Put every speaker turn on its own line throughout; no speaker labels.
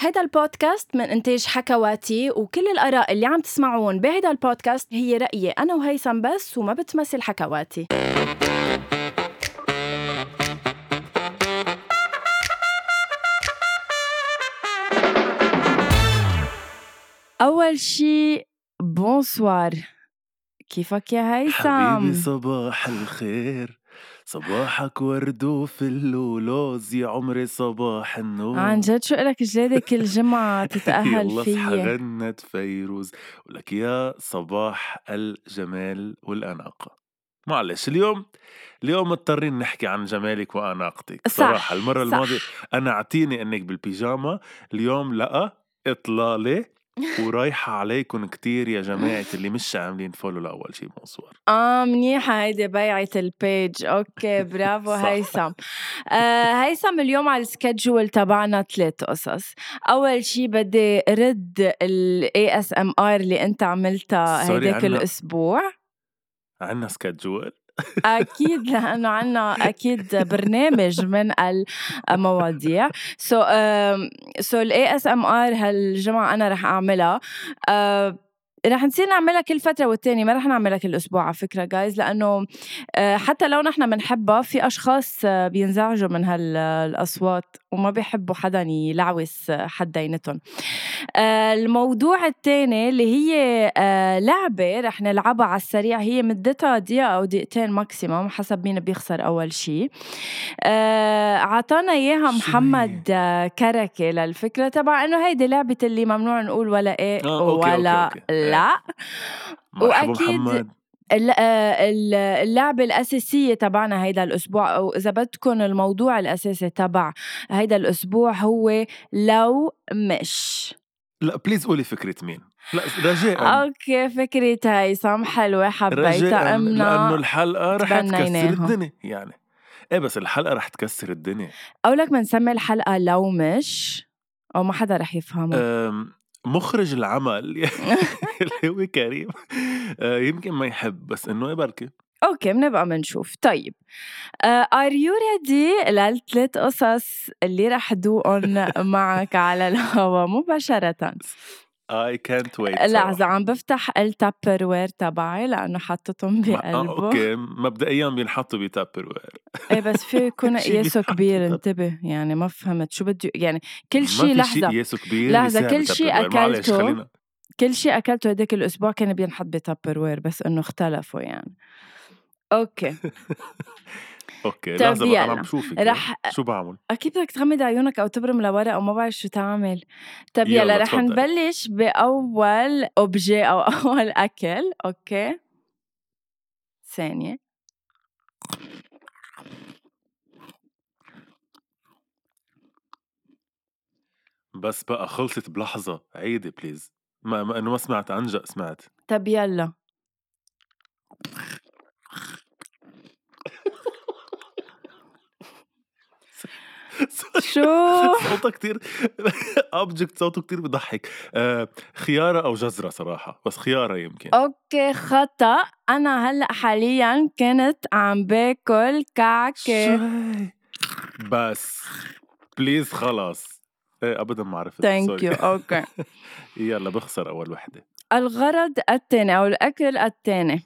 هيدا البودكاست من إنتاج حكواتي وكل الآراء اللي عم تسمعون بهيدا البودكاست هي رأيي أنا وهيثم بس وما بتمثل حكواتي أول شي بونسوار كيفك يا هيثم؟
حبيبي صباح الخير صباحك ورد وفل ولوز يا عمري صباح النور
عن جد شو إلك جلادة كل جمعة تتأهل
يلا
فيي
غنت فيروز ولك يا صباح الجمال والأناقة معلش اليوم اليوم مضطرين نحكي عن جمالك وأناقتك
صح،
صراحة
صح.
المرة الماضية أنا اعطيني إنك بالبيجاما اليوم لأ إطلالة ورايحة عليكم كتير يا جماعة اللي مش عاملين فولو لأول شي منصور
اه منيحة هيدي بيعة البيج اوكي برافو
صح.
هيثم آه هيثم اليوم على السكجول تبعنا ثلاث قصص اول شي بدي رد الاي اس ام ار اللي انت عملتها
سوري،
هيداك
عنا-
الاسبوع
عنا سكجول
اكيد لانه عنا اكيد برنامج من المواضيع سو سو الاي اس ام ار هالجمعه انا رح اعملها آه، رح نصير نعملها كل فترة والتانية ما رح نعملها كل أسبوع على فكرة جايز لأنه آه، حتى لو نحن بنحبها في أشخاص آه، بينزعجوا من هالأصوات وما بيحبوا حدا يلعوس آه، حد دينتهم آه، الموضوع الثاني اللي هي آه، لعبة رح نلعبها على السريع هي مدتها دقيقة أو دقيقتين ماكسيموم حسب مين بيخسر أول شيء عطانا إياها
شو
محمد آه، كركي للفكرة تبع إنه هيدي لعبة اللي ممنوع نقول ولا إيه
آه، أوكي، أوكي،
ولا
أوكي. إيه.
لا
مرحبا
وأكيد
محمد
ال- آه، ال- اللعبة الأساسية تبعنا هيدا الأسبوع أو إذا بدكم الموضوع الأساسي تبع هيدا الأسبوع هو لو مش
لا بليز قولي فكرة مين لا رجاء
اوكي فكرة هيثم حلوة حبيتها
رجاء لأنه
امنا
الحلقة رح تكسر
تبنيناها.
الدنيا يعني ايه بس الحلقة رح تكسر الدنيا
اقولك بنسمي الحلقة لو مش او ما حدا رح يفهمه
أم، مخرج العمل اللي هو كريم أه، يمكن ما يحب بس انه ايه بركي
اوكي بنبقى بنشوف طيب ار يو ريدي للثلاث قصص اللي رح دوقن معك على الهوا مباشرة
اي كانت ويت
لحظة عم بفتح التابر وير تبعي لأنه حطتهم بقلبه
اوكي مبدئيا آه، بينحطوا بتابر وير
ايه بس في يكون
شي
قياسه
بينحط
كبير
بتابر.
انتبه يعني ما فهمت شو بده يعني كل
ما
شيء
في شيء
لحظة
قياسه كبير
لحظة،
بيساعد
كل شي
بتابر وير. معلش،
أكلته.
خلينا
كل شيء اكلته هداك الاسبوع كان بينحط بتابر وير بس انه اختلفوا يعني اوكي
اوكي
طب
لحظة بقى، انا
يلا.
عم بشوفك
رح
شو بعمل
اكيد بدك تغمض عيونك او تبرم لورا او ما بعرف شو تعمل طب يلا,
يلا
رح
تفضلي.
نبلش باول اوبجي او اول اكل اوكي ثانية
بس بقى خلصت بلحظة عيدي بليز ما ما انه ما سمعت عنجا سمعت
طب يلا شو
صوتها كتير اوبجكت صوته كتير بضحك آه خيارة او جزرة صراحة بس خيارة يمكن
اوكي خطأ انا هلا حاليا كنت عم باكل كعكة
شوي. بس بليز خلاص ايه ابدا ما عرفت
ثانك
Sorry.
يو اوكي
يلا بخسر اول وحدة
الغرض الثاني او الاكل الثاني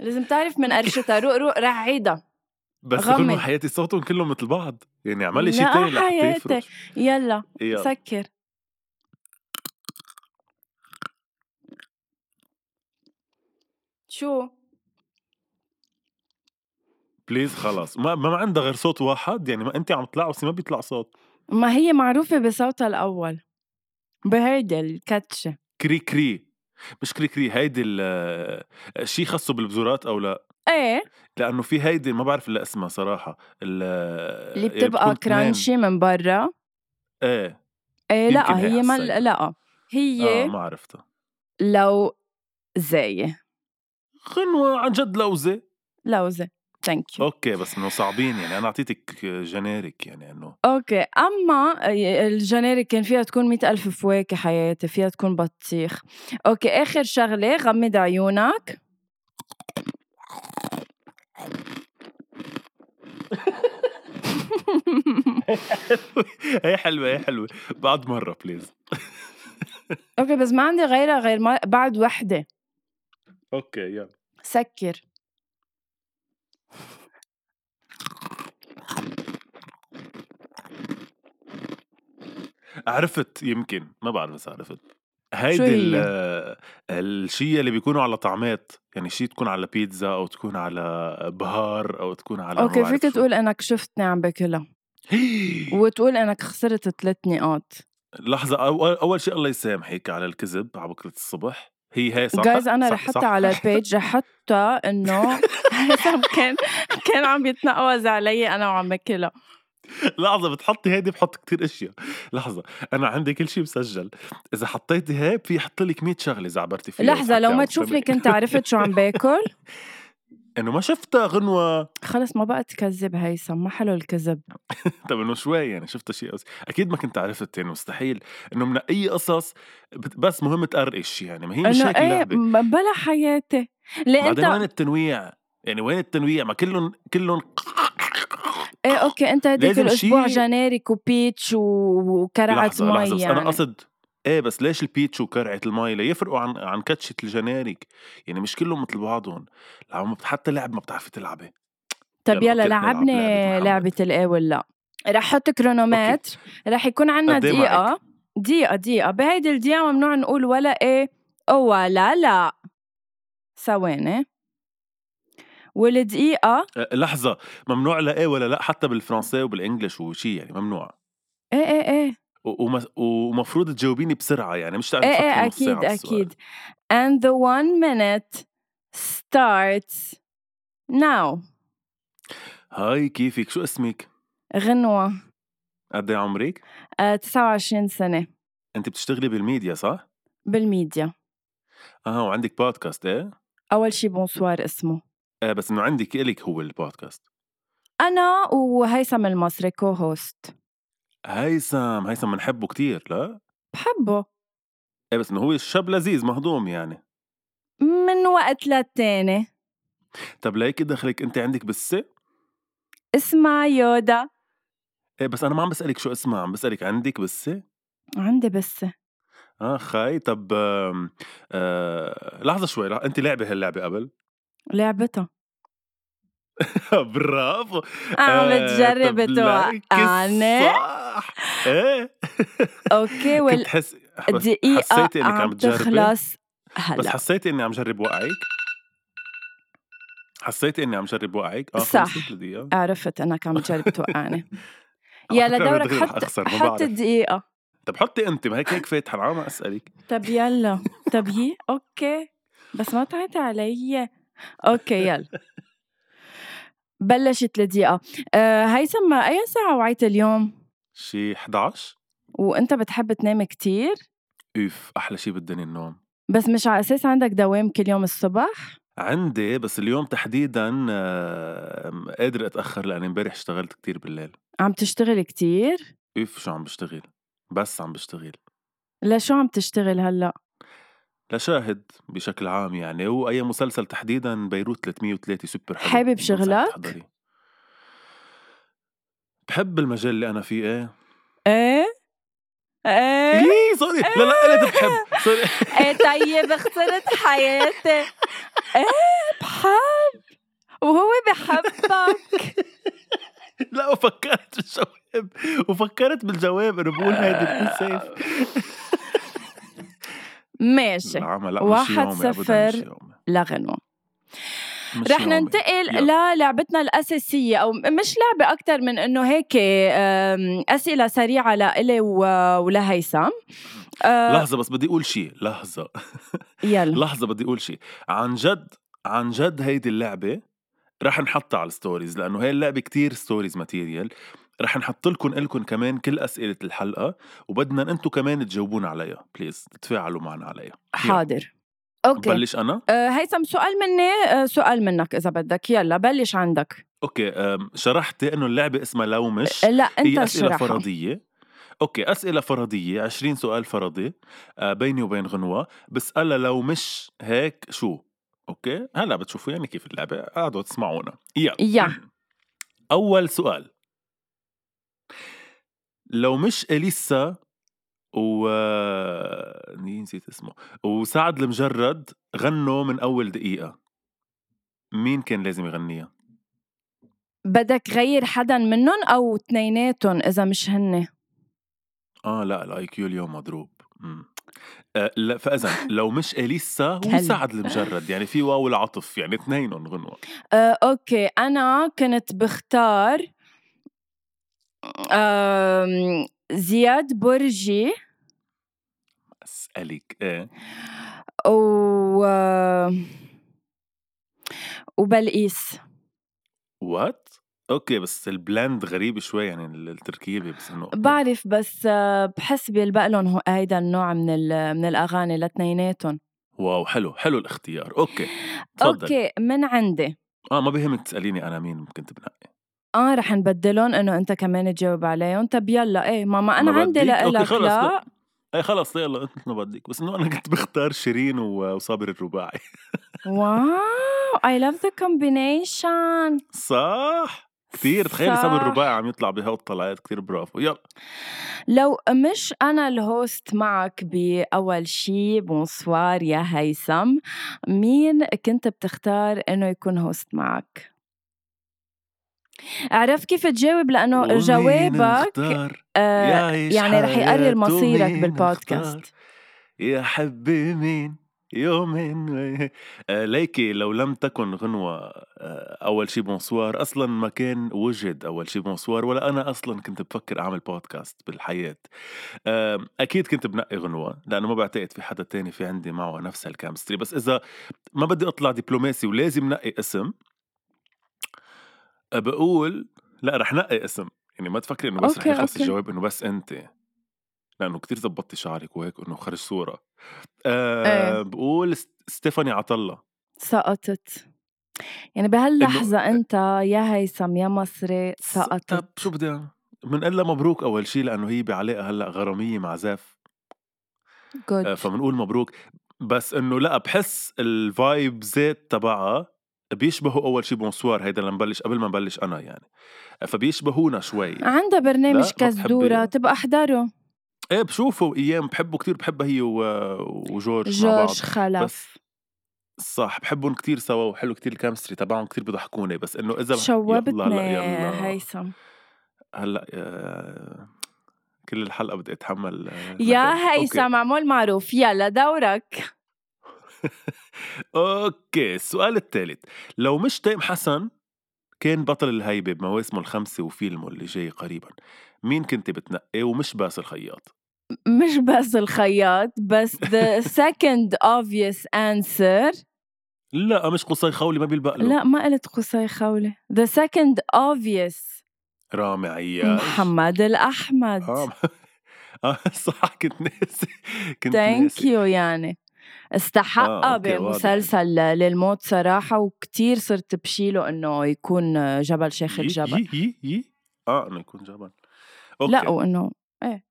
لازم تعرف من قرشتها روق روق رح عيدها
بس
غمض.
كل حياتي صوتهم كلهم مثل بعض يعني اعملي شيء
لا
تاني لحتى
حياتي.
يفرش.
يلا
يلا
سكر شو
بليز خلاص ما ما عندها غير صوت واحد يعني ما انت عم تلعبسي ما بيطلع صوت
ما هي معروفة بصوتها الأول بهيدا الكاتشة
كري كري مش كري كري هيدي ال شيء خاصه بالبذورات او لا
ايه
لانه في هيدي ما بعرف الا اسمها صراحه ال-
اللي
يعني
بتبقى
بتكون تنين.
كرانشي من برا
ايه
ايه
يمكن
لا
هي
هي ما
عالسيدة.
لا هي
اه ما عرفتها
لو زي
غنوه عن جد لوزه
لوزة ثانك يو
اوكي بس انه صعبين يعني انا اعطيتك جنيريك يعني انه
اوكي اما الجنيريك آه، كان فيها تكون مئة ألف فواكه حياتي فيها تكون بطيخ اوكي اخر شغلة غمض عيونك
هي حلوه هي حلوه بعد مره بليز
اوكي بس ما عندي غيرها غير ما بعد وحده
اوكي يلا
سكر
عرفت يمكن ما بعرف بس عرفت
شو
هيدي
هي؟
ال- الشيء اللي بيكونوا على طعمات يعني شيء تكون على بيتزا او تكون على بهار او تكون على ما
اوكي
بعرف
فيك
شو.
تقول انك شفتني عم باكلها وتقول انك خسرت ثلاث نقاط
لحظه اول اول شيء الله يسامحك على الكذب على بكره الصبح هي هي صح
جايز انا
صح-
رحتها
صح؟
على البيج رحتها انه هيثم كان كان عم يتنقوز علي انا وعم باكلها
لحظه بتحطي هيدي بحط كتير اشياء لحظه انا عندي كل شيء مسجل اذا حطيتي هيك في يحط لك 100 شغله اذا عبرتي فيها
لحظه لو ما
بتحطي على
تشوفني
قدامك.
كنت عرفت شو عم باكل
انه ما شفتها غنوه
خلص ما بقى تكذب هيثم ما حلو الكذب
طب انه شوي يعني شفتها شيء أوس... اكيد ما كنت عرفت يعني مستحيل انه من اي قصص بت- بس مهم تقرقش يعني ما هي مش
انه
هيك
ايه
اللعبه
م- بلا حياتي ليه
بعدين وين
انت
التنويع يعني وين التنويع ما كلهم كلهم
ايه اوكي انت هديك
لازم
الاسبوع
شي-
جناريك وبيتش و- وكرعه
لحظة لحظة
مي
بس أنا
يعني
قصد ايه بس ليش البيتش وكرعة المي لا يفرقوا عن عن كاتشة الجناريك يعني مش كلهم مثل بعضهم لعم حتى لعب ما بتعرفي تلعبي
طب يلا
يلا كيف نلعب
لعبني
لعبة محمد؟
لعبة الايه ولا رح احط كرونومتر رح يكون عنا
قد إيه معك؟
دقيقة دقيقة دقيقة بهيدي الدقيقة ممنوع نقول ولا ايه أو ولا لا ثواني والدقيقة
أه، لحظة ممنوع لا ايه ولا لا حتى بالفرنسي وبالانجلش وشي يعني ممنوع
ايه ايه ايه
و- وم- ومفروض تجاوبيني بسرعة يعني مش تعرفي
ايه
تفكري
ايه
نص ساعة
أكيد
بالسؤال.
أكيد and the one minute starts now
هاي كيفك شو اسمك؟
غنوة
قد ايه عمرك؟
آه، 29 سنة
انت بتشتغلي بالميديا صح؟
بالميديا
اه وعندك بودكاست ايه؟
أول شي بونسوار اسمه
ايه بس انه عندك الك هو البودكاست
أنا وهيثم المصري كو هوست
هيثم هيثم بنحبه كتير لا؟
بحبه
ايه بس انه هو شاب لذيذ مهضوم يعني
من وقت للتاني
طب ليك دخلك انت عندك آه، بسه؟
اسمها يودا
ايه بس انا ما عم بسالك شو اسمها عم بسالك عندك بسه؟
عندي بس
اه خاي طب آم، آه لحظه شوي لح- انت لعبه هاللعبه قبل
لعبتها
برافو
عم
آه،
بتجرب
طب لك
توقعني
صح ايه
اوكي
كنت حس بس
والدقيقة
حسيتي انك عم
عم
تجربي
تخلص
بس
هلا
حسيتي اني عم جرب وقعك حسيتي اني عم جرب وقعك اه
صح.
خلصت الدقيقه
عرفت انك عم تجرب توقعني
على
يلا
فكرة أنا
دورك
دغري رح
حط
أخسر، ما
حط
بعرف.
الدقيقة
طب حطي انت ما هيك هيك فاتحه أنا عم اسالك
طب يلا طب هي اوكي بس ما تعطي علي اوكي يلا بلشت الدقيقة أه هيثم أي ساعة وعيت اليوم؟
شي 11
وأنت بتحب تنام كتير
اوف احلى شي بالدنيا النوم
بس مش على أساس عندك دوام كل يوم الصبح؟
عندي بس اليوم تحديدا آه، قادر اتاخر لاني امبارح اشتغلت كتير بالليل
عم تشتغل كتير؟
اوف شو عم بشتغل بس عم بشتغل
لشو عم تشتغل هلا؟
لشاهد بشكل عام يعني واي مسلسل تحديدا بيروت 303 سوبر حلو
حابب
بنصحك
شغلك؟
تحضريه. بحب المجال اللي انا فيه ايه
ايه؟ ايه؟
ايه سوري لا لا قلت بحب سوري
ايه طيب خسرت حياتي ايه بحب وهو بحبك
لا وفكرت بالجواب وفكرت بالجواب انه بقول هيدي بكون سيف
ماشي
العمى نعم، لا مش
آه، واحد
يومي أبداً، مش
صفر.
يومي.
لغنوة
مش
رح
يومي.
ننتقل
يلا.
للعبتنا الأساسية أو م- مش لعبة أكتر من إنه هيك أم، أسئلة سريعة لإلي و- ولهيثم أه،
لحظة بس بدي أقول شيء لحظة
يلا
لحظة بدي أقول شيء عن جد عن جد هيدي اللعبة رح نحطها على الستوريز لأنه هي اللعبة كتير ستوريز ماتيريال رح نحط لكم إلكم كمان كل أسئلة الحلقة وبدنا أنتم كمان تجاوبونا عليها بليز تتفاعلوا معنا عليها
حاضر أوكي
بلش أنا
أه، هيثم سؤال مني أه، سؤال منك إذا بدك يلا بلش عندك
أوكي أم، شرحتي إنه اللعبة اسمها لو مش
لا
هي
أنت
أسئلة
شرحها
فرضية أوكي أسئلة فرضية 20 سؤال فرضي آه، بيني وبين غنوة بسألها لو مش هيك شو أوكي هلا بتشوفوا يعني كيف اللعبة قعدوا تسمعونا يلا
يا
أول سؤال لو مش اليسا و آه، نسيت اسمه وسعد المجرد غنوا من اول دقيقه مين كان لازم يغنيها
بدك غير حدا منهم او اثنيناتهم اذا مش هن
اه لا الاي كيو اليوم مضروب مم. آه لا فاذا لو مش اليسا
كلب.
وسعد المجرد يعني في واو العطف يعني اثنينهم غنوا
آه، اوكي انا كنت بختار آم، زياد برجي
اسالك ايه
و وبلقيس
وات اوكي بس البلاند غريب شوي يعني ال- التركيبه بس انه أوكي.
بعرف بس آه، بحس بيلبق لهم هو- هيدا النوع من ال- من الاغاني لاتنيناتهم
واو حلو حلو الاختيار اوكي تفضل
اوكي من عندي
اه ما بيهمك تساليني انا مين كنت بنقي
اه رح نبدلهم انه انت كمان تجاوب عليهم طب يلا ايه ماما انا
ما
عندي
بديك؟ أوكي،
لإلك
خلص،
لا
لا. اي خلص يلا انت ما بدك بس انه انا كنت بختار شيرين و- وصابر الرباعي
واو اي لاف ذا كومبينيشن
صح كثير تخيل صابر الرباعي عم يطلع بهالطلعات كثير برافو يلا
لو مش أنا الهوست معك بأول شي بونسوار يا هيثم مين كنت بتختار إنه يكون هوست معك؟ أعرف كيف تجاوب لأنه
ومين
جوابك
اختار
آه
يعيش
يعني رح يقرر
حياته
مصيرك
مين اختار؟
بالبودكاست
يا حبي مين يومين و- آه، ليكي لو لم تكن غنوة آه، أول شي بونسوار أصلا ما كان وجد أول شي بونسوار ولا أنا أصلا كنت بفكر أعمل بودكاست بالحياة آم، أكيد كنت بنقي غنوة لأنه ما بعتقد في حدا تاني في عندي معه نفس الكامستري بس إذا ما بدي أطلع دبلوماسي ولازم نقي اسم آه، بقول لا رح نقي اسم يعني ما تفكري انه بس رح
أوكي،
يخلص
أوكي.
الجواب انه بس انت لانه كتير زبطتي شعرك وهيك انه خرج صوره آه
إيه.
بقول س- ستيفاني عطله
سقطت يعني بهاللحظة أنت يا هيثم يا مصري سقطت
طب شو بدي أعمل؟ بنقول لها مبروك اول شيء لانه هي بعلاقه هلا غراميه مع زاف آه،
جود
فبنقول مبروك بس انه لا بحس الفايب زيت تبعها بيشبهوا اول شيء بونسوار هيدا اللي نبلش قبل ما نبلش انا يعني آه، فبيشبهونا شوي
عندها
لا،
برنامج
ما بتحبي-
كزدورة تبقى أحضره
ايه بشوفه ايام بحبه كتير بحبها هي و... وجورج مع بعض
جورج خلف
بس صح بحبهم كتير سوا وحلو كتير الكامستري تبعهم كتير بضحكوني بس انه اذا بح- يلا
شوبتني
هلا يلا
هيثم
هلا آه، كل الحلقه بدي اتحمل آه،
يا
نكد.
هيثم معمول معروف يلا دورك
اوكي السؤال الثالث لو مش تيم حسن كان بطل الهيبه بمواسمه الخمسه وفيلمه اللي جاي قريبا مين كنت بتنقي ومش باسل الخياط
مش بس الخياط بس the second obvious answer
لا مش قصي خولي ما بيلبق له
لا ما قلت قصي خولة the second obvious
رامي عياش
محمد الأحمد
اه آه، صح كنت ناسي كنت
ثانك
ناسي
يو يعني
آه،
استحقها
أوكي، واضح.
بمسلسل للموت صراحة وكتير صرت بشيله انه يكون جبل شيخ
يي
الجبل
يي يي يي. اه انه يكون جبل اوكي
لا وانه ايه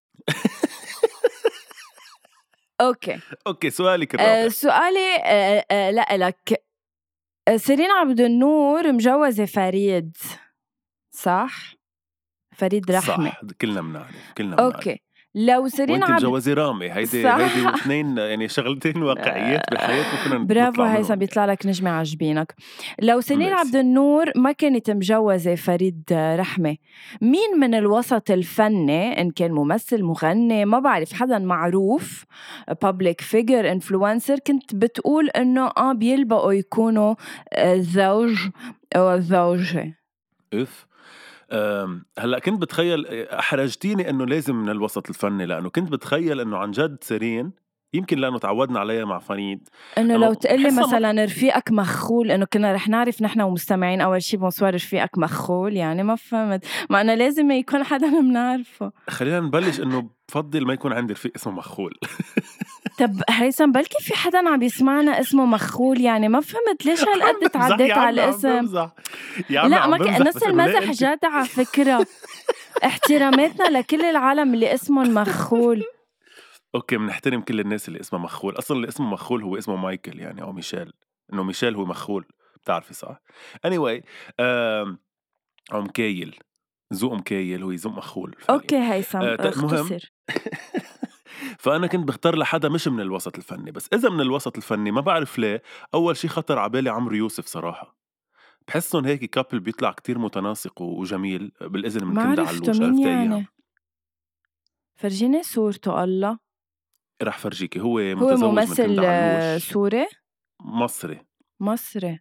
اوكي
اوكي سؤالك
آه،
الرابع
سؤالي آه، آه، لإلك آه، سيرين عبد النور مجوزة فريد صح؟ فريد رحمة
صح كلنا بنعرف كلنا بنعرف
اوكي لو سيرين
وانت
عبد
مجوزه رامي هيدي
صح.
هيدي اثنين يعني شغلتين واقعيات بالحياه ما كنا
آه، برافو
نطلع
هيثم
منهم.
بيطلع لك نجمة عجبينك لو سيرين
ميرسي.
عبد النور ما كانت مجوزة فريد رحمة مين من الوسط الفني إن كان ممثل مغني ما بعرف حدا معروف public figure influencer كنت بتقول إنه آه بيلبقوا يكونوا آه، زوج أو زوجة
اف أم، هلا كنت بتخيل احرجتيني انه لازم من الوسط الفني لانه كنت بتخيل انه عن جد سيرين يمكن لانه تعودنا عليها مع فريد
انه
أنا
لو تقلي
بحسها ما-
مثلا رفيقك مخول انه كنا رح نعرف نحن ومستمعين اول شيء بونسوار رفيقك مخول يعني ما فهمت ما انا لازم يكون حدا بنعرفه
خلينا نبلش انه بفضل ما يكون عندي رفيق اسمه مخول
طب هيثم بلكي في حدا عم يسمعنا اسمه مخول يعني ما فهمت ليش هالقد
عم بمزح،
تعديت
يا عمي،
على
عم
الاسم
بمزح. يا عمي،
لا
عم
ما ك...
بمزح،
نص
بس إنه ليه
المزح
قلتي
جاد على فكره احتراماتنا لكل العالم اللي اسمهم مخول
اوكي بنحترم كل الناس اللي اسمها مخول اصلا اللي اسمه مخول هو اسمه مايكل يعني او ميشيل انه ميشيل هو مخول بتعرفي صح anyway آم، عم كايل ذوق مكايل هو يزم اخول
اوكي هيثم
آه، طيب، مهم.
اختصر
فانا كنت بختار لحدا مش من الوسط الفني بس اذا من الوسط الفني ما بعرف ليه اول شي خطر على بالي عمرو يوسف صراحه بحسهم هيك كابل بيطلع كتير متناسق وجميل بالاذن من
ما
كندا
عرفته
علوش
مين
عرفت ايام
يعني فرجيني صورته الله
رح فرجيكي هو
هو
إيه، متزوج من
ممثل
كندا
آه،
علوش
سوري
مصري
مصري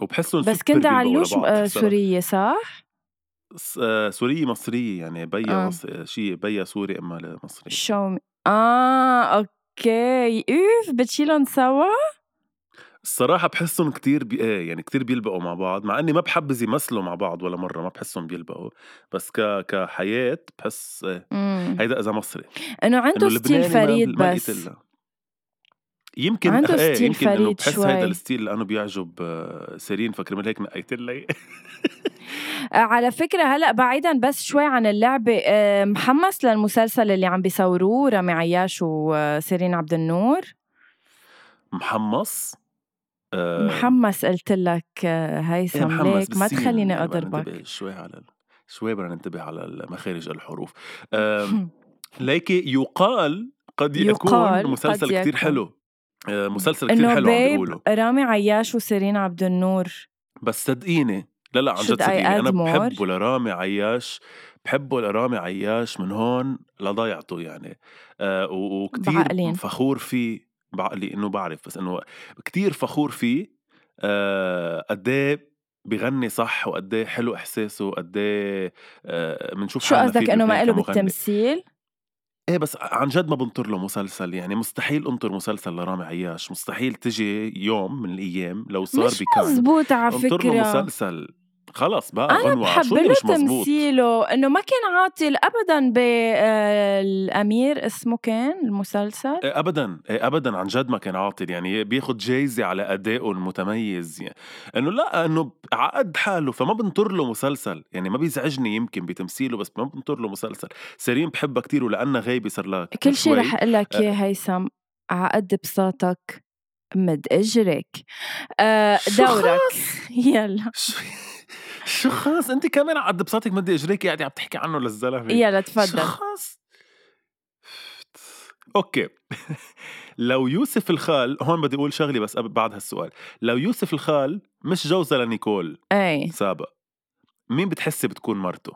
وبحسهم
بس
super
كندا
بيبقوا
علوش
لبعض
آه،
صراحة.
سورية صح؟
أيوه. س- آه، سورية مصرية يعني بيا
آه.
مصري شيء بيا سوري اما مصري
شو اه اوكي اوف بتشيلهم سوا؟
الصراحة بحسهم كتير بي... إيه يعني كتير بيلبقوا مع بعض مع اني ما بحبز يمثلوا مع بعض ولا مرة ما بحسهم بيلبقوا بس ك... كحياة بحس إيه
مم.
هيدا اذا مصري
انه عنده
انه
ستيل
لبناني
فريد
ما... ما
بس
لقيت إلا. يمكن
عنده
ايه
ستيل
يمكن انه
فريد
بحس
شوي.
هيدا الستيل لانه بيعجب آه، سيرين فكرمال هيك نقيت لي
آه، على فكرة هلا بعيدا بس شوي عن اللعبة آه، محمس للمسلسل اللي عم بيصوروه رامي عياش وسيرين عبد النور
محمص آه،
محمس قلت لك آه،
ايه
هيثم
محمس
ليك ما
بالسين
تخليني
إيه، بدنا
اضربك
ننتبه شوي على ال... شوي بدنا ننتبه على مخارج الحروف آم، ليكي يقال قد
يقال
يكون
قد
مسلسل كتير
يكون.
حلو آه، مسلسل كتير
انه
حلو عم
بيب
بيقولوا
رامي عياش وسيرين عبد النور
بس صدقيني لا لا عن
Should I
جد صدقيني انا
add more؟
بحبه لرامي عياش بحبه لرامي عياش من هون لضيعته يعني آه، و- وكتير
بعقلين
فخور فيه بعقلي انه بعرف بس انه كتير فخور فيه آه، قد ايه بغني صح وقد ايه حلو احساسه وقد ايه بنشوف
شو
حالنا فيه
قصدك انه ما
بلبنان
له
كمغني
بالتمثيل؟
ايه بس عن جد ما بنطر له مسلسل يعني مستحيل انطر مسلسل لرامي عياش مستحيل تجي يوم من الايام لو صار
مش
بكان
مزبوط على
انطر له
فكرة
مسلسل خلص بقى
أنا
غنوة
بحب
آه، شو اللي
له
مش إيه، مزبوط
تمثيله إنه ما كان عاطل أبدا بالأمير اسمه كان المسلسل
إيه ابدا إيه ابدا عن جد ما كان عاطل يعني بياخد جايزه على ادائه المتميز يعني انه لا انه عقد حاله فما بنطر له مسلسل يعني ما بيزعجني يمكن بتمثيله بس ما بنطر له مسلسل سيرين بحبها كتير ولانها غايبه صار لك من
كل شي رح
شوي
أقول لك
آه،
يا هيثم عقد بساطك مد إجرك آه،
شو
دورك
خلص
يلا
شو شو خاص انت كمان عاد بساطك مدي اجريك قاعده عم تحكي عنه للزلمه
يلا
إيه. شو
تفضل
خاص اوكي لو يوسف الخال هون بدي اقول شغلي بس قبل- بعد هالسؤال لو يوسف الخال مش جوزها لنيكول
أي
سابق مين بتحسي بتكون مرته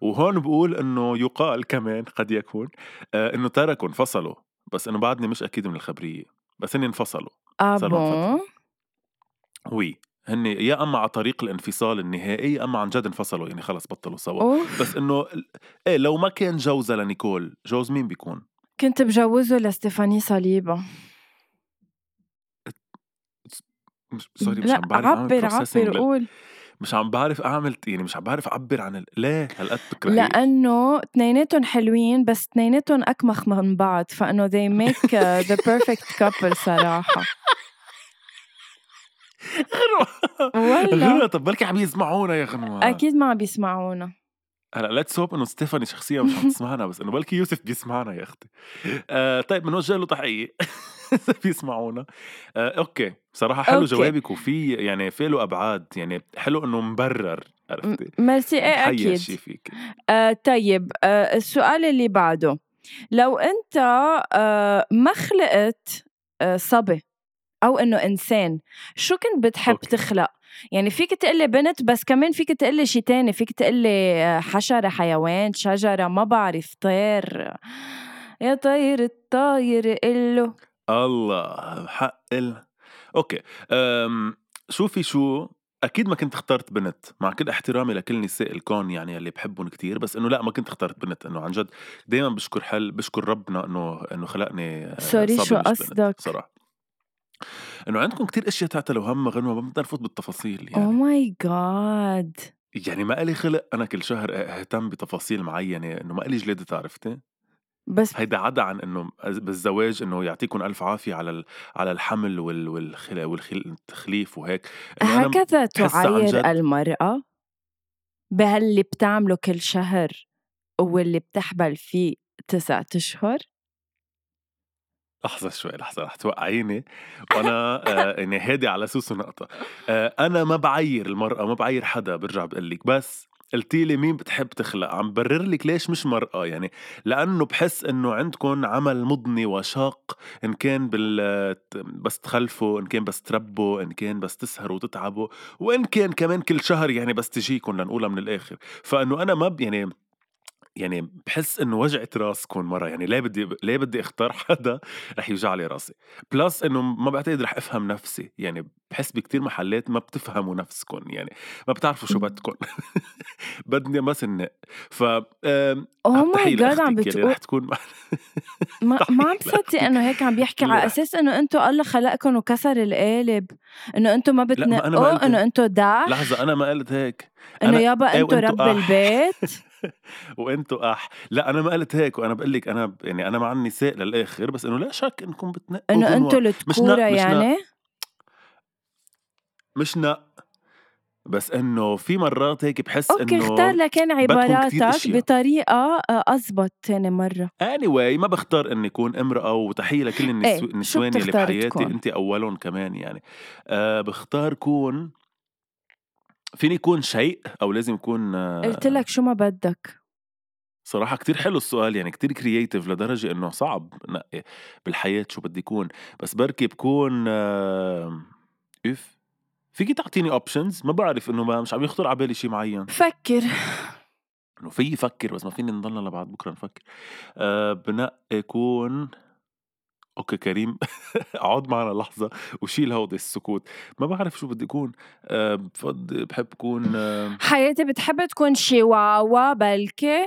وهون بقول انه يقال كمان قد يكون آه انه تركوا انفصلوا بس انه بعدني مش اكيد من الخبريه بس هن انفصلوا
آه
صار لهم فتره
بون
وي هن يا اما على طريق الانفصال النهائي يا اما عن جد انفصلوا يعني خلص بطلوا سوا
أوف
بس انه ايه لو ما كان جوزها لنيكول جوز مين بيكون؟
كنت بجوزه لستيفاني صليبة
مش سوري مش
لا
عم بعرف اعمل
عبر
بروسيسنج
عبر
لل...
قول
مش عم بعرف اعمل يعني مش عم بعرف اعبر عن ال... ليه هالقد بتكرهيه؟
لأنه اتنيناتهم حلوين بس اتنيناتهم أكمخ من بعض فإنه they make uh, the perfect couple صراحة
غنوة
ولا
غنوة طب بركي عم يسمعونا يا غنوة
أكيد ما عم بيسمعونا
هلا ليتس هوب انه ستيفاني شخصيا مش عم تسمعنا بس انه بلكي يوسف بيسمعنا يا اختي آه طيب بنوجه له تحيه اذا بيسمعونا آه اوكي صراحه حلو
أوكي
جوابك وفي يعني في له ابعاد يعني حلو انه مبرر
م-
عرفتي
ميرسي إيه
بحيي
أكيد
هالشي فيك
آه طيب آه السؤال اللي بعده لو أنت آه ما خلقت آه صبي أو إنه إنسان شو كنت بتحب
اوكي
تخلق؟ يعني فيك تقلي بنت بس كمان فيك تقلي شي تاني فيك تقلي آه، حشرة حيوان شجرة ما بعرف طير يا طير الطاير إله
الله حق ال... اوكي أم... شوفي شو اكيد ما كنت اخترت بنت مع كل احترامي لكل نساء الكون يعني اللي بحبهم كتير بس انه لا ما كنت اخترت بنت انه عن جد دائما بشكر حل بشكر ربنا انه انه خلقني آه،
سوري شو
صبي مش بنت
قصدك؟
صراحه انه عندكم كتير اشياء تعتلوا هم غنوه ما بدنا نفوت بالتفاصيل
أو
يعني
ماي جاد
يعني ما إلي خلق انا كل شهر اهتم بتفاصيل معينه انه ما إلي جلاده عرفتي
بس
هيدا عدا عن انه بالزواج انه يعطيكم الف عافيه على ال- على الحمل وال والخل والتخليف وهيك انه انا
هكذا
يعني بحس عن
تعاير
جد
المرأة بهاللي بتعمله كل شهر واللي بتحبل فيه تسعة أشهر
لحظه شوي لحظه رح توقعيني وانا آه يعني هادي على سوسو نقطه آه انا ما بعير المراه ما بعير حدا برجع بقول لك بس قلتي لي مين بتحب تخلق عم برر لك ليش مش مرأة يعني لأنه بحس إنه عندكم عمل مضني وشاق إن كان بال بس تخلفوا إن كان بس تربوا إن كان بس تسهروا وتتعبوا وإن كان كمان كل شهر يعني بس تجيكم لنقولها من الآخر فإنه أنا ما ب- يعني يعني بحس انه وجعت راسكم مره يعني ليه بدي ليه بدي اختار حدا رح يوجع لي راسي بلس انه ما بعتقد رح افهم نفسي يعني بحس بكتير محلات ما بتفهموا نفسكم يعني ما بتعرفوا شو
مم.
بدكم بدنا بس النق ف آم،
اوه ماي
تحية
جاد Oh آه، عم
لاختك يعني
بتقول
رح تكون
ما,
تحية
ما عم بصدق
لاختك
انه هيك عم بيحكي
اللي
على
رح
اساس انه انتم الله خلقكم وكسر القالب انه انتم ما oh،
لا ما انا ما قلت
بتنقوا انه
هيك
انتم دح
لحظه انا ما قلت هيك
انه
انا
يابا
ايه
انتم
وانتو
رب
اح
البيت
وانتو اح لا انا ما قلت هيك وانا بقول لك انا يعني انا مع النساء للاخر بس انه لا شك انكم بتنقوا
انه انتم
غنوه مش
التكوره
نق مش نق
يعني
مش نق بس انه في مرات هيك بحس
اوكي اختار
انه
لكان
بدكم كتير
عباراتك
اشياء
بطريقه آه، أزبط تاني مره
anyway ما بختار اني اكون امراه وتحيه لكل النسو-
ايه شو
النسوان يلي
بتختار
بحياتي
تكون
انت اولهم كمان يعني أه بختار كون فيني يكون شيء او لازم يكون
قلت
آه،
لك شو ما بدك
صراحة كتير حلو السؤال يعني كتير كرييتيف لدرجة انه صعب نقي بالحياة شو بدي يكون بس بركي بكون آه، اف فيكي تعطيني اوبشنز ما بعرف انه ما مش عم يخطر على بالي شيء معين
فكر
انه في يفكر بس ما فيني نضلنا لبعد بكره نفكر أه بنقي يكون اوكي كريم اقعد معنا لحظه وشيل هودي السكوت ما بعرف شو بدي اكون أه بفض... بحب اكون أه
حياتي بتحب تكون شيواوا بلكي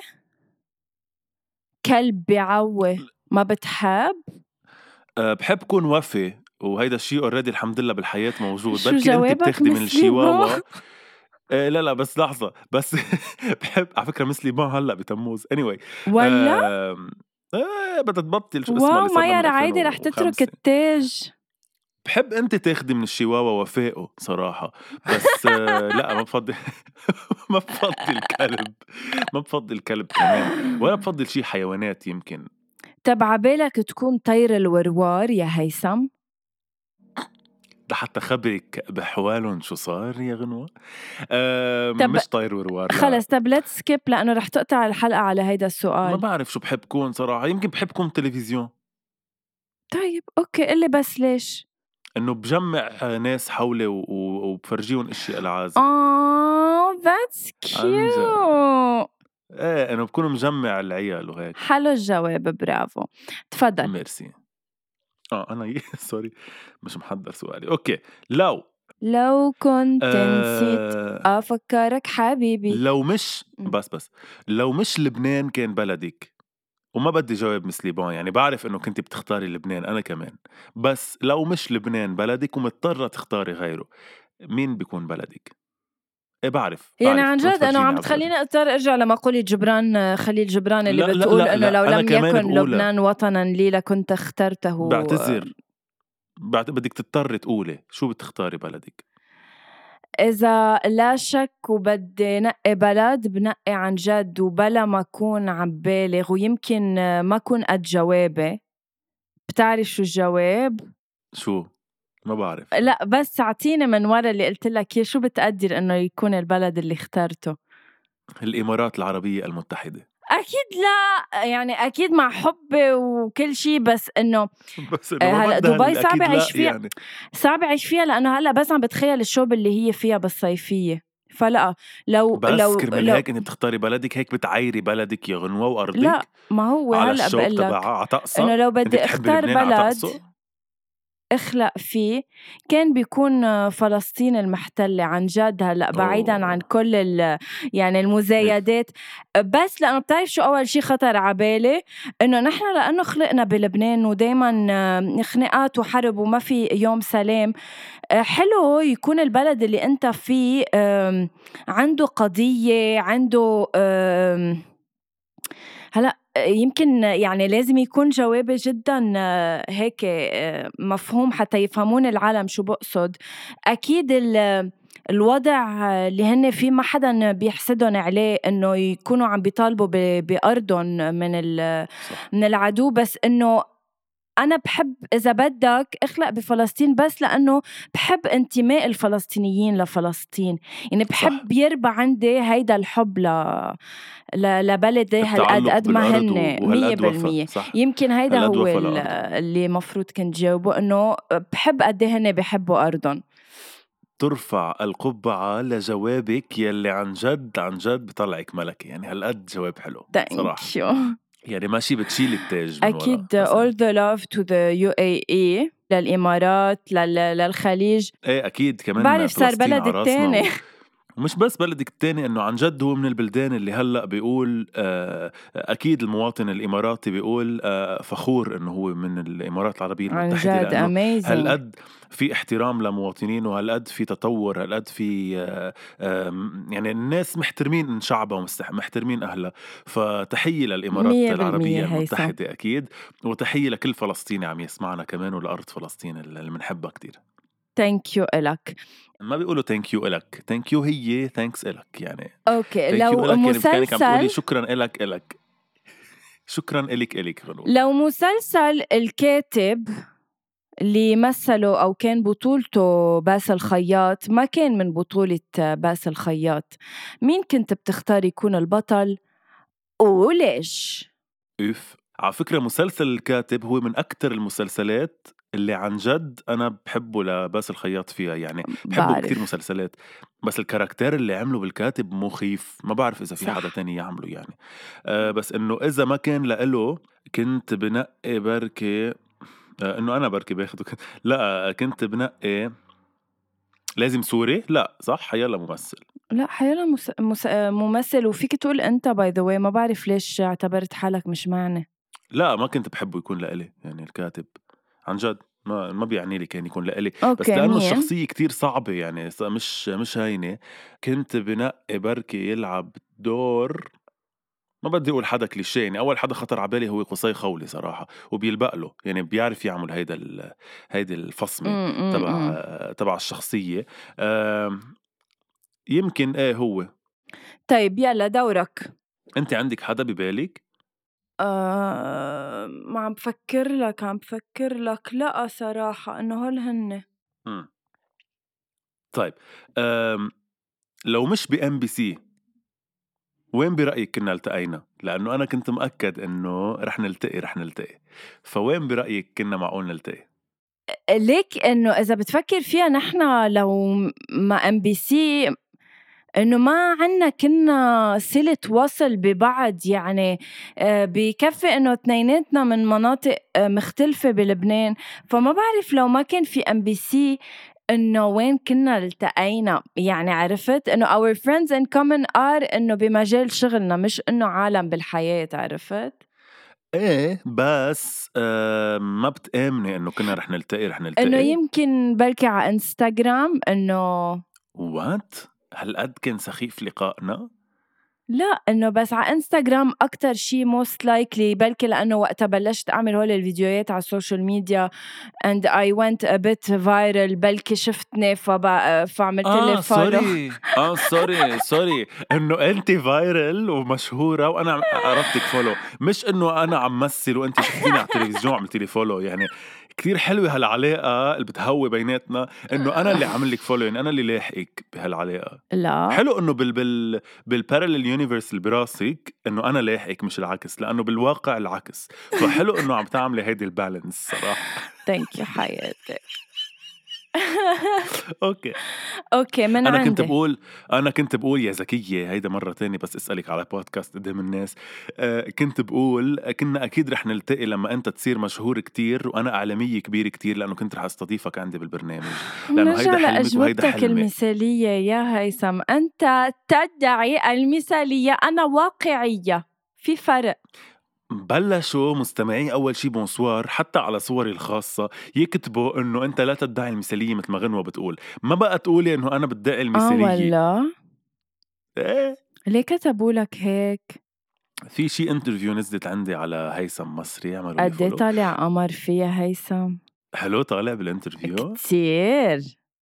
كلب بيعوي ما بتحب
أه، بحب اكون وفي وهيدا الشيء اوريدي الحمد لله بالحياه موجود
شو
بركي انت
جوابك
بتاخدي من
مسلمة
الشيواوا أه لا لا بس لحظه بس بحب على فكره مثلي ما هلا بتموز اني anyway.
ولا
أه... أه بدها تبطل شو اسمها
واو
اللي صار لها
مايا
من
رعايدي رح تترك
2005
التاج
بحب انت تاخدي من الشيواوا وفائه صراحه بس آه، لا ما بفضل ما بفضل كلب ما بفضل كلب كمان ولا بفضل شي حيوانات يمكن
طب عبالك تكون طير الوروار يا هيثم
ده حتى خبرك بحوالهم شو صار يا غنوة آه
طب
مش طاير وروار لا
خلص طيب. طب ليتس سكيب لانه رح تقطع الحلقه على هيدا
ما
السؤال
بعرف شو بحب كون صراحة يمكن بحب كون تلفزيون
طيب اوكي قلي بس ليش
انه بجمع آه، ناس حولي و- و- وبفرجيهم اشياء
آه.
العازب
اه ذاتس
عن جد
كيوت
ايه انه بكون مجمع العيال وهيك
حلو الجواب برافو تفضل
ميرسي اه انا سوري مش محضر سؤالي اوكي لو
لو كنت نسيت
آه
افكرك حبيبي
لو مش
م.
بس بس لو مش لبنان كان بلدك وما بدي جواب مثل لبنان يعني بعرف انه كنت بتختاري لبنان انا كمان بس لو مش لبنان بلدك ومضطرة تختاري غيره مين بيكون بلدك؟ ايه بعرف
يعني
بعرف
عن
ما
جد انه
تفرجيني
عم
على بلدي
بتخليني اضطر ارجع لمقولة جبران آه، خليل جبران اللي
لا لا
بتقول
لا
انه لو
لا انا
لم
كمان
يكن
بقولها
لبنان وطنا لي لكنت اخترته آه،
بعتذر بعت... بدك تضطري تقولي شو بتختاري بلدك؟
إذا لا شك وبدي نقي بلد بنقي عن جد وبلا ما أكون عم بالغ ويمكن آه، ما أكون قد جوابي بتعرف شو الجواب؟
شو؟ ما بعرف لا
لا بس أعطيني من ورا اللي قلت لك إياه، شو بتقدر إنه يكون البلد اللي اخترته؟
الامارات العربية المتحدة
أكيد لا يعني أكيد مع حبي وكل شيء بس إنه
بس انه
آه،
ما
هلا
بدها
دبي
ال-
صعب
اكيد
أعيش
لا
فيها
يعني
صعب أعيش فيها لأنه هلا بس عم بتخيل الشوب اللي هي فيها بالصيفية فلا لو
بس
لو
كرمال
لو
هيك انت بتختاري بلدك هيك بتعايري بلدك يا غنوة
لا
وارضيك
ما هو
على
هلا
الشوب
بقول
تبعها
لك
على
انه
طقسها
لو
انت
بدي
بتحبي
اختار
لبنان على
بلد
طقسه
اخلق فيه كان بيكون آه، فلسطين المحتلة عن جد هلا بعيدا عن
اوه
كل ال يعني
ايه
المزايدات بس لانه بتعرف شو اول شيء خطر على بالي انه نحن لانه خلقنا بلبنان ودائما خناقات وحرب وما في يوم سلام آه، حلو يكون البلد اللي انت فيه آم، عنده قضية عنده آم، هلا يمكن يعني لازم يكون جوابي جدا آه، هيك آه، مفهوم حتى يفهمون العالم شو بقصد اكيد ال الوضع اللي هن فيه ما حدا بيحسدهم عليه انه يكونوا عم بيطالبوا ب- بارضهم من ال-
صح
من العدو بس انه انا بحب اذا بدك اخلق بفلسطين بس لانه بحب انتماء الفلسطينيين لفلسطين يعني بحب صح. يربى عندي هيدا الحب ل... ل... لبلدي هالقد إيه، قد ما هن 100%
صح
يمكن هيدا
هالقد
هو
وفاء
ال-
لأرضهم.
اللي مفروض كنت جاوبه انه بحب قد إيه هن بحبوا ارضهم
ترفع القبعة لجوابك يلي عن جد عن جد بطلعك ملكة يعني هالقد جواب حلو صراحة
ثانك يو
يعني ماشي بتشيل التاج من ورا.
اكيد
مثلاً.
all the love to the UAE للامارات لل... للخليج
ايه اكيد كمان
بعرف صار
فلسطين
بلدك
على راسنا
تاني.
و- ومش بس بلدك الثاني انه عن جد هو من البلدان اللي هلا بيقول آه، اكيد المواطن الاماراتي بيقول آه، فخور انه هو من الامارات العربيه
عن
المتحده
جد
لانه
amazing
هالقد في احترام لمواطنين وهالقد في تطور هالقد في آه، آم، يعني الناس محترمين شعبها ومحترمين اهلها فتحيه للامارات
100%
العربيه
هيثم
المتحده اكيد وتحيه لكل فلسطيني عم يسمعنا كمان ولارض فلسطين اللي بنحبها كتير
ثانك يو الك
ما بيقولوا ثانك يو الك ثانك يو هي ثانكس الك يعني
اوكي
ثانك يو
لو
الك يعني كانك عم تقولي
مسلسل
شكرا الك الك شكرا الك الك غنوة
لو مسلسل الكاتب اللي مثله أو كان بطولته باسل خياط ما كان من بطولة باسل خياط مين كنت بتختار يكون البطل وليش؟
اوف على فكرة مسلسل الكاتب هو من أكتر المسلسلات اللي عن جد أنا بحبه لباسل الخياط فيها يعني بحبه بكتير
بعرف
مسلسلات بس الكاركتير اللي عمله بالكاتب مخيف ما بعرف إذا في حدا
صح
تاني يعمله يعني آه بس إنه إذا ما كان لإله كنت بنقي بركي آه إنه أنا بركي باخده كنت لا كنت بنقي لازم سوري لا صح يلا ممثل
لا حيلا مس... مس... ممثل وفيك تقول انت باي ذا واي ما بعرف ليش اعتبرت حالك مش معني
لا ما كنت بحبه يكون لإلي يعني الكاتب عن جد ما ما بيعني لي كان يكون لإلي بس
اوكي
لأنه
مين
الشخصية كتير صعبة يعني ص- مش مش هينة كنت بنقي بركي يلعب دور ما بدي أقول حدا كليشيه يعني أول حدا خطر على بالي هو قصي خولي صراحة وبيلبق له يعني بيعرف يعمل هيدا ال... هيدي الفصمة
أم، أم،
تبع
أم.
تبع الشخصية أم، يمكن إيه هو
طيب يلا دورك
أنت عندك حدا ببالك؟
آه ما عم بفكر لك عم بفكر لك لا صراحة انه هول هن
مم. طيب أم، لو مش بام بي سي وين برأيك كنا التقينا؟ لأنه أنا كنت مأكد إنه رح نلتقي رح نلتقي فوين برأيك كنا معقول نلتقي؟
ليك انه اذا بتفكر فيها نحن لو ما ام بي سي انه ما عنا كنا صلة وصل ببعض يعني آه، بكفي انه اتنيناتنا من مناطق آه، مختلفة بلبنان فما بعرف لو ما كان في ام بي سي انه وين كنا التقينا يعني عرفت انه our friends in common are انه بمجال شغلنا مش انه عالم بالحياة عرفت
ايه بس آه ما بتآمني إنه كنا رح نلتقي رح
انه
نلتقي؟
يمكن بركي على انستغرام انه
وات؟ هالقد كان سخيف لقائنا؟
لا انه بس على انستغرام اكتر شيء موست لايكلي بلكي لانه وقتها بلشت اعمل هول الفيديوهات على السوشيال ميديا and I went a bit viral بلكي شفتني فب... فعملت لي
اه
فولو
سوري اه سوري سوري انه انت فايرل ومشهوره وانا عم قربتك فولو مش انه انا عم مثل وانت شفتيني على التلفزيون وعملتي لي فولو يعني كتير حلوه هالعلاقه اللي بتهوي بيناتنا انه انا اللي عامل لك فولو يعني انا اللي لاحقك بهالعلاقه
لا
حلو انه بال بال بالبارلل يونيفرس اللي براسك انه انا لاحقك مش العكس لانه بالواقع العكس فحلو انه عم تعملي هيدي البالانس صراحه
ثانك يو حياتي
اوكي
اوكي من
انا كنت
عندي
بقول انا كنت بقول يا ذكيه هيدا مره تانية بس اسالك على بودكاست قدام الناس آه، كنت بقول كنا اكيد رح نلتقي لما انت تصير مشهور كتير وانا اعلاميه كبير كتير لانه كنت رح استضيفك عندي بالبرنامج لانه
منرجع
هيدا حلمك وهيدا
لأجوبتك
حلمي
المثالية يا هيثم أنت تدعي المثالية أنا واقعية في فرق آه
بلشوا مستمعي اول شي بونسوار حتى على صوري الخاصه يكتبوا انه انت لا تدعي المثاليه مثل ما غنوه بتقول ما بقى تقولي انه انا بدعي
آه
المثاليه
والله
ايه
ليه كتبوا لك هيك؟
في شي انترفيو نزلت عندي على هيثم مصري عملوا لي
قد إيه
فولو
طالع قمر فيها هيثم
حلو أيوه. طالع بالانترفيو
كتير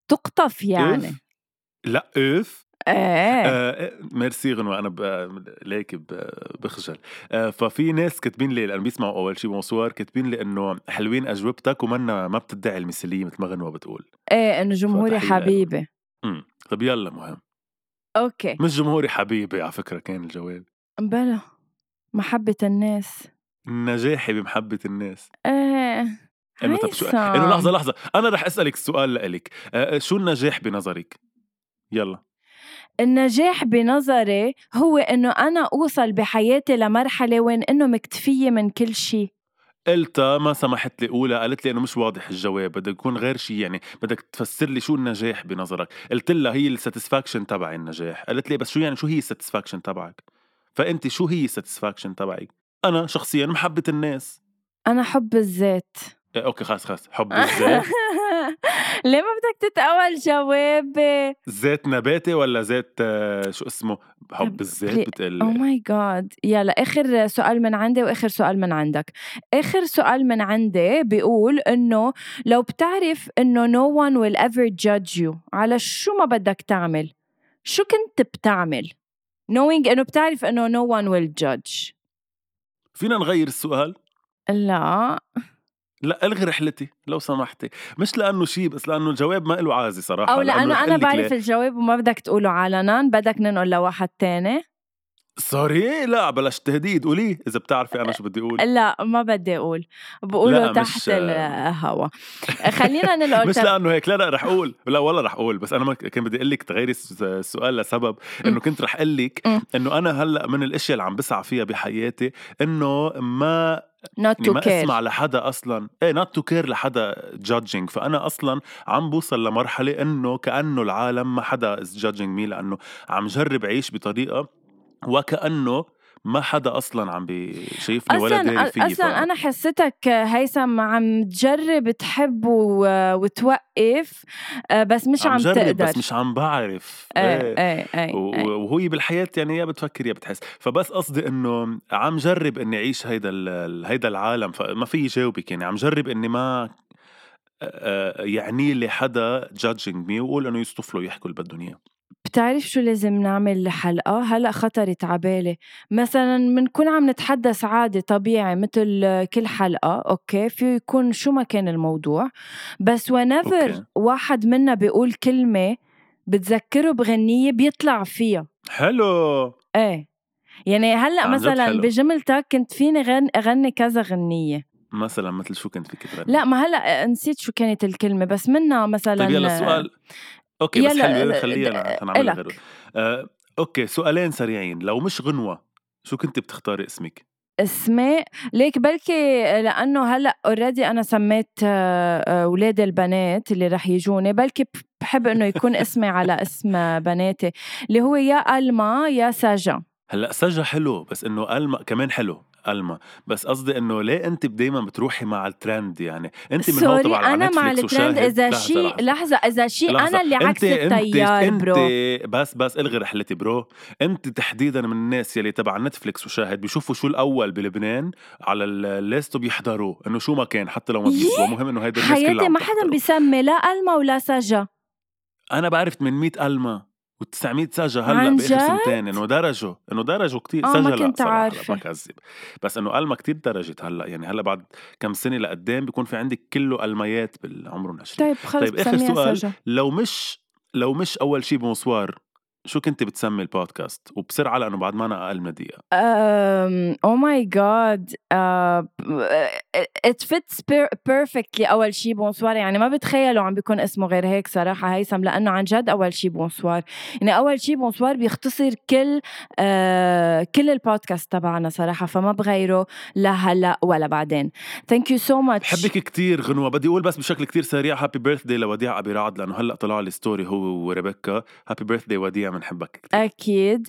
تقطف يعني
اف لا اف
ايه
آه، ميرسي غنوة أنا ب- ليك ب- بخجل آه، ففي ناس كاتبين لي لأنه بيسمعوا أول شي بونسوار كاتبين لي إنه حلوين أجوبتك ومنا ما بتدعي المثالية مثل ما غنوة بتقول
ايه انه جمهوري
فتحية لهم.
حبيبي
امم طب يلا مهم
اوكي
مش جمهوري حبيبي على فكرة كان الجواب
بلا محبة الناس
نجاحي بمحبة الناس
ايه
انه طب شو
هيثم.
انه لحظة لحظة أنا رح أسألك السؤال لإلك آه، شو النجاح بنظرك؟ يلا
النجاح بنظري هو انه انا اوصل بحياتي لمرحله وين انه مكتفيه من كل شيء
قلتها ما سمحت لي اقولها قالت لي انه مش واضح الجواب بده يكون غير شيء يعني بدك تفسر لي شو النجاح بنظرك قلت لها هي الساتسفاكشن تبعي النجاح قالت لي بس شو يعني شو هي الساتسفاكشن تبعك فانت شو هي الساتسفاكشن تبعك انا شخصيا محبه الناس
انا حب الذات
إيه اوكي خلاص خلاص حب الذات
ليه ما بدك تتقوى جواب
ذات نباتي ولا ذات آه، شو اسمه حب الذات
او
بتقول
ماي جاد Oh يلا اخر سؤال من عندي واخر سؤال من عندك اخر سؤال من عندي بيقول انه لو بتعرف انه no one will ever judge you على شو ما بدك تعمل شو كنت بتعمل knowing انه بتعرف انه no one will judge
فينا نغير السؤال
لا
لا الغي رحلتي لو سمحتي مش لانه شيء بس لانه الجواب ما له عازي صراحه
او لانه
رح
انا
قلك ليه.
بعرف الجواب وما بدك تقوله علنا بدك ننقل لواحد تاني
سوري لا بلاش تهديد قولي اذا بتعرفي انا شو بدي اقول
لا ما بدي اقول
لا،
بقوله
مش-
تحت الهوا خلينا ننقل
مش
تب-
لانه هيك لا لا رح اقول لا والله رح اقول بس انا ما كان بدي اقول لك تغيري الس- السؤال لسبب انه كنت رح اقول لك
م.
انه انا هلا من الاشياء اللي عم بسعى فيها بحياتي انه ما
not
يعني
to
ما
care
اسمع لحدا اصلا ايه نوت تو كير لحدا جادجينج فانا اصلا عم بوصل لمرحله انه كانه العالم ما حدا از جادجينج مي لانه عم جرب اعيش بطريقه وكانه ما حدا اصلا عم بشايفني ولا داري
اصلا
فيي
اصلا
فأنا-
انا حسيتك هيثم عم تجرب تحب و- وتوقف آه، بس مش عم,
عم جرب
تقدر
بس مش عم بعرف
ايه
إيه.
ايه ايه, إيه.
و- وهي بالحياة يعني يا بتفكر يا بتحس فبس قصدي انه عم جرب اني اعيش هيدا ال- ال- هيدا العالم فما في جاوبك يعني عم جرب اني ما آه، يعني لي حدا جادجينج مي وقول انه يستفلوا يحكوا اللي بدهم اياه
بتعرف شو لازم نعمل لحلقة؟ هلأ خطرت عبالي مثلا منكون عم نتحدث عادي طبيعي مثل كل حلقة أوكي فيه يكون شو ما كان الموضوع بس
أوكي.
ونفر واحد منا بيقول كلمة بتذكره بغنية بيطلع فيها
حلو
ايه يعني هلأ
عن جد
مثلا
حلو.
بجملتك كنت فيني غن... أغني كذا غنية
مثلا مثل شو كنت فيك تغني
لا ما هلأ نسيت شو كانت الكلمة بس منا مثلا
طيب يلا سؤال اوكي بس
يلا،
حلو
د-
خليها لع- نعمل
إلك.
غيره آه، اوكي سؤالين سريعين لو مش غنوة شو كنت بتختاري اسمك؟
اسماء ليك بلكي لانه هلا اوريدي انا سميت آه، آه، اولادي البنات اللي رح يجوني بلكي ب- بحب انه يكون اسمي على اسم بناتي اللي هو يا الما يا سجا
هلا سجا حلو بس انه الما كمان حلو الما بس قصدي انه ليه انت دايما بتروحي مع الترند يعني انت من هون
سوري
تبع على
انا مع
نتفليكس
الترند
وشاهد
اذا
لحظة،
شيء
لحظة.
لحظه اذا شيء
لحظة.
انا اللي عكس التيار
انت
برو
بس بس الغي رحلتي برو انت تحديدا من الناس يلي تبع نتفليكس وشاهد بيشوفوا شو الاول بلبنان على الليست وبيحضروه انه شو ما كان حتى لو ما
يي!
بيسوى مهم انه هيدا الناس كلها
حياتي
عم
ما حدا
تحضره.
بيسمي لا الما ولا سجا
انا بعرف 800 الما و900 سجا هلا
عن
باخر
جد؟
سنتين انه درجوا انه درجوا كثير
آه،
سجا
ما
لا
كنت
صراحه
عارفة.
لا ما كذب بس انه الما كثير درجت هلا يعني هلا بعد كم سنه لقدام بيكون في عندك كله الميات بالعمر من 20
طيب خلص
طيب، آخر
بسميها
سؤال.
سجا
لو مش لو مش اول شيء بونسوار شو كنت بتسمي البودكاست وبسرعه لانه بعد ما انا اقل من دقيقه
او ماي جاد آه، ات فيتس بيرفكتلي اول شي بونسوار يعني ما بتخيلوا عم بيكون اسمه غير هيك صراحه هيثم لانه عن جد اول شي بونسوار يعني اول شي بونسوار بيختصر كل آه كل البودكاست تبعنا صراحه فما بغيره لا هلا ولا بعدين ثانك يو سو ماتش
بحبك كتير غنوة بدي أقول بس بشكل كتير سريع هابي بيرث داي لوديع أبي رعد لأنه هلأ طلع لي ستوري هو وريبيكا هابي بيرث داي وديع بنحبك كتير
اكيد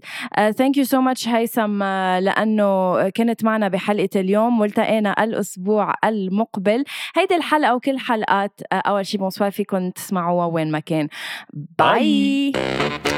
ثانك يو سو ماتش هيثم آه، لانه كنت معنا بحلقه اليوم والتقينا الاسبوع المقبل هيدي الحلقه وكل حلقات آه، اول شي بونسوار فيكم تسمعوها وين ما كان باي,
باي.
باي.